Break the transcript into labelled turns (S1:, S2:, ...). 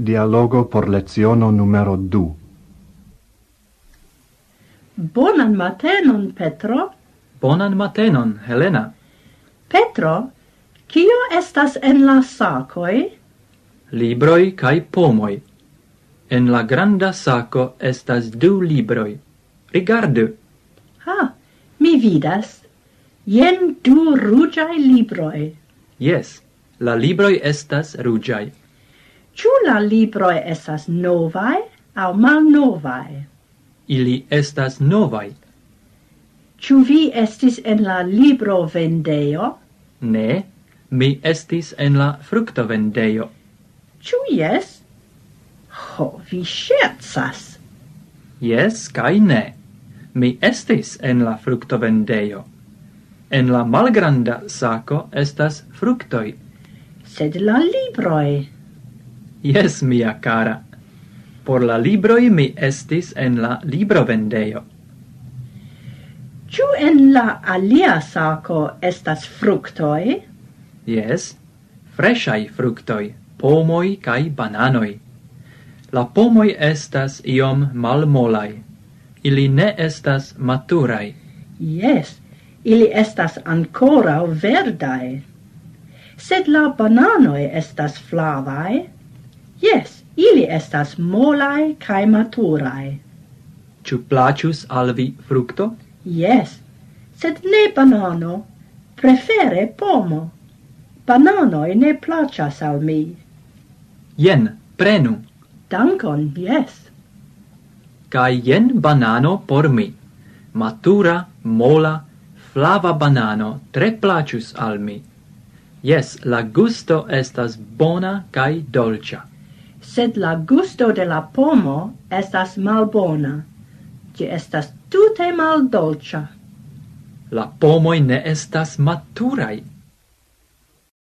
S1: Dialogo por leciono numero du.
S2: Bonan matenon, Petro.
S3: Bonan matenon, Helena.
S2: Petro, kio estas en la sacoi?
S3: Libroi cae pomoi. En la granda saco estas du libroi. Rigardu.
S2: Ha, mi vidas. Jen du rugiai libroi.
S3: Yes, la libroi estas rugiai.
S2: Ciu la libroi estas novai au mal novai?
S3: Ili estas novai.
S2: Ciu vi estis en la libro vendeo?
S3: Ne, mi estis en la fructo vendeio.
S2: Ciu yes? Ho, vi scherzas.
S3: Yes, cae ne. Mi estis en la fructo vendeio. En la malgranda saco estas fructoi.
S2: Sed la libroi.
S3: Yes, mia cara. Por la libroi mi estis en la libro vendeio.
S2: Ciu en la alia saco estas fructoi?
S3: Yes, freshai fructoi, pomoi cae bananoi. La pomoi estas iom malmolai. Ili ne estas maturai.
S2: Yes, ili estas ancorau verdai. Sed la bananoi estas flavai? Yes, ili estas molai cae maturai.
S3: Ciu placius al vi fructo?
S2: Yes, sed ne banano, prefere pomo. Bananoi ne placas al mi.
S3: Jen, prenu.
S2: Dankon, yes.
S3: Cae jen banano por mi. Matura, mola, flava banano tre placius al mi. Yes, la gusto estas bona cae dolcia.
S2: Sed la gusto de la pomo estas malbona. Ci estas tute maldolcia.
S3: La pomoi ne estas maturai.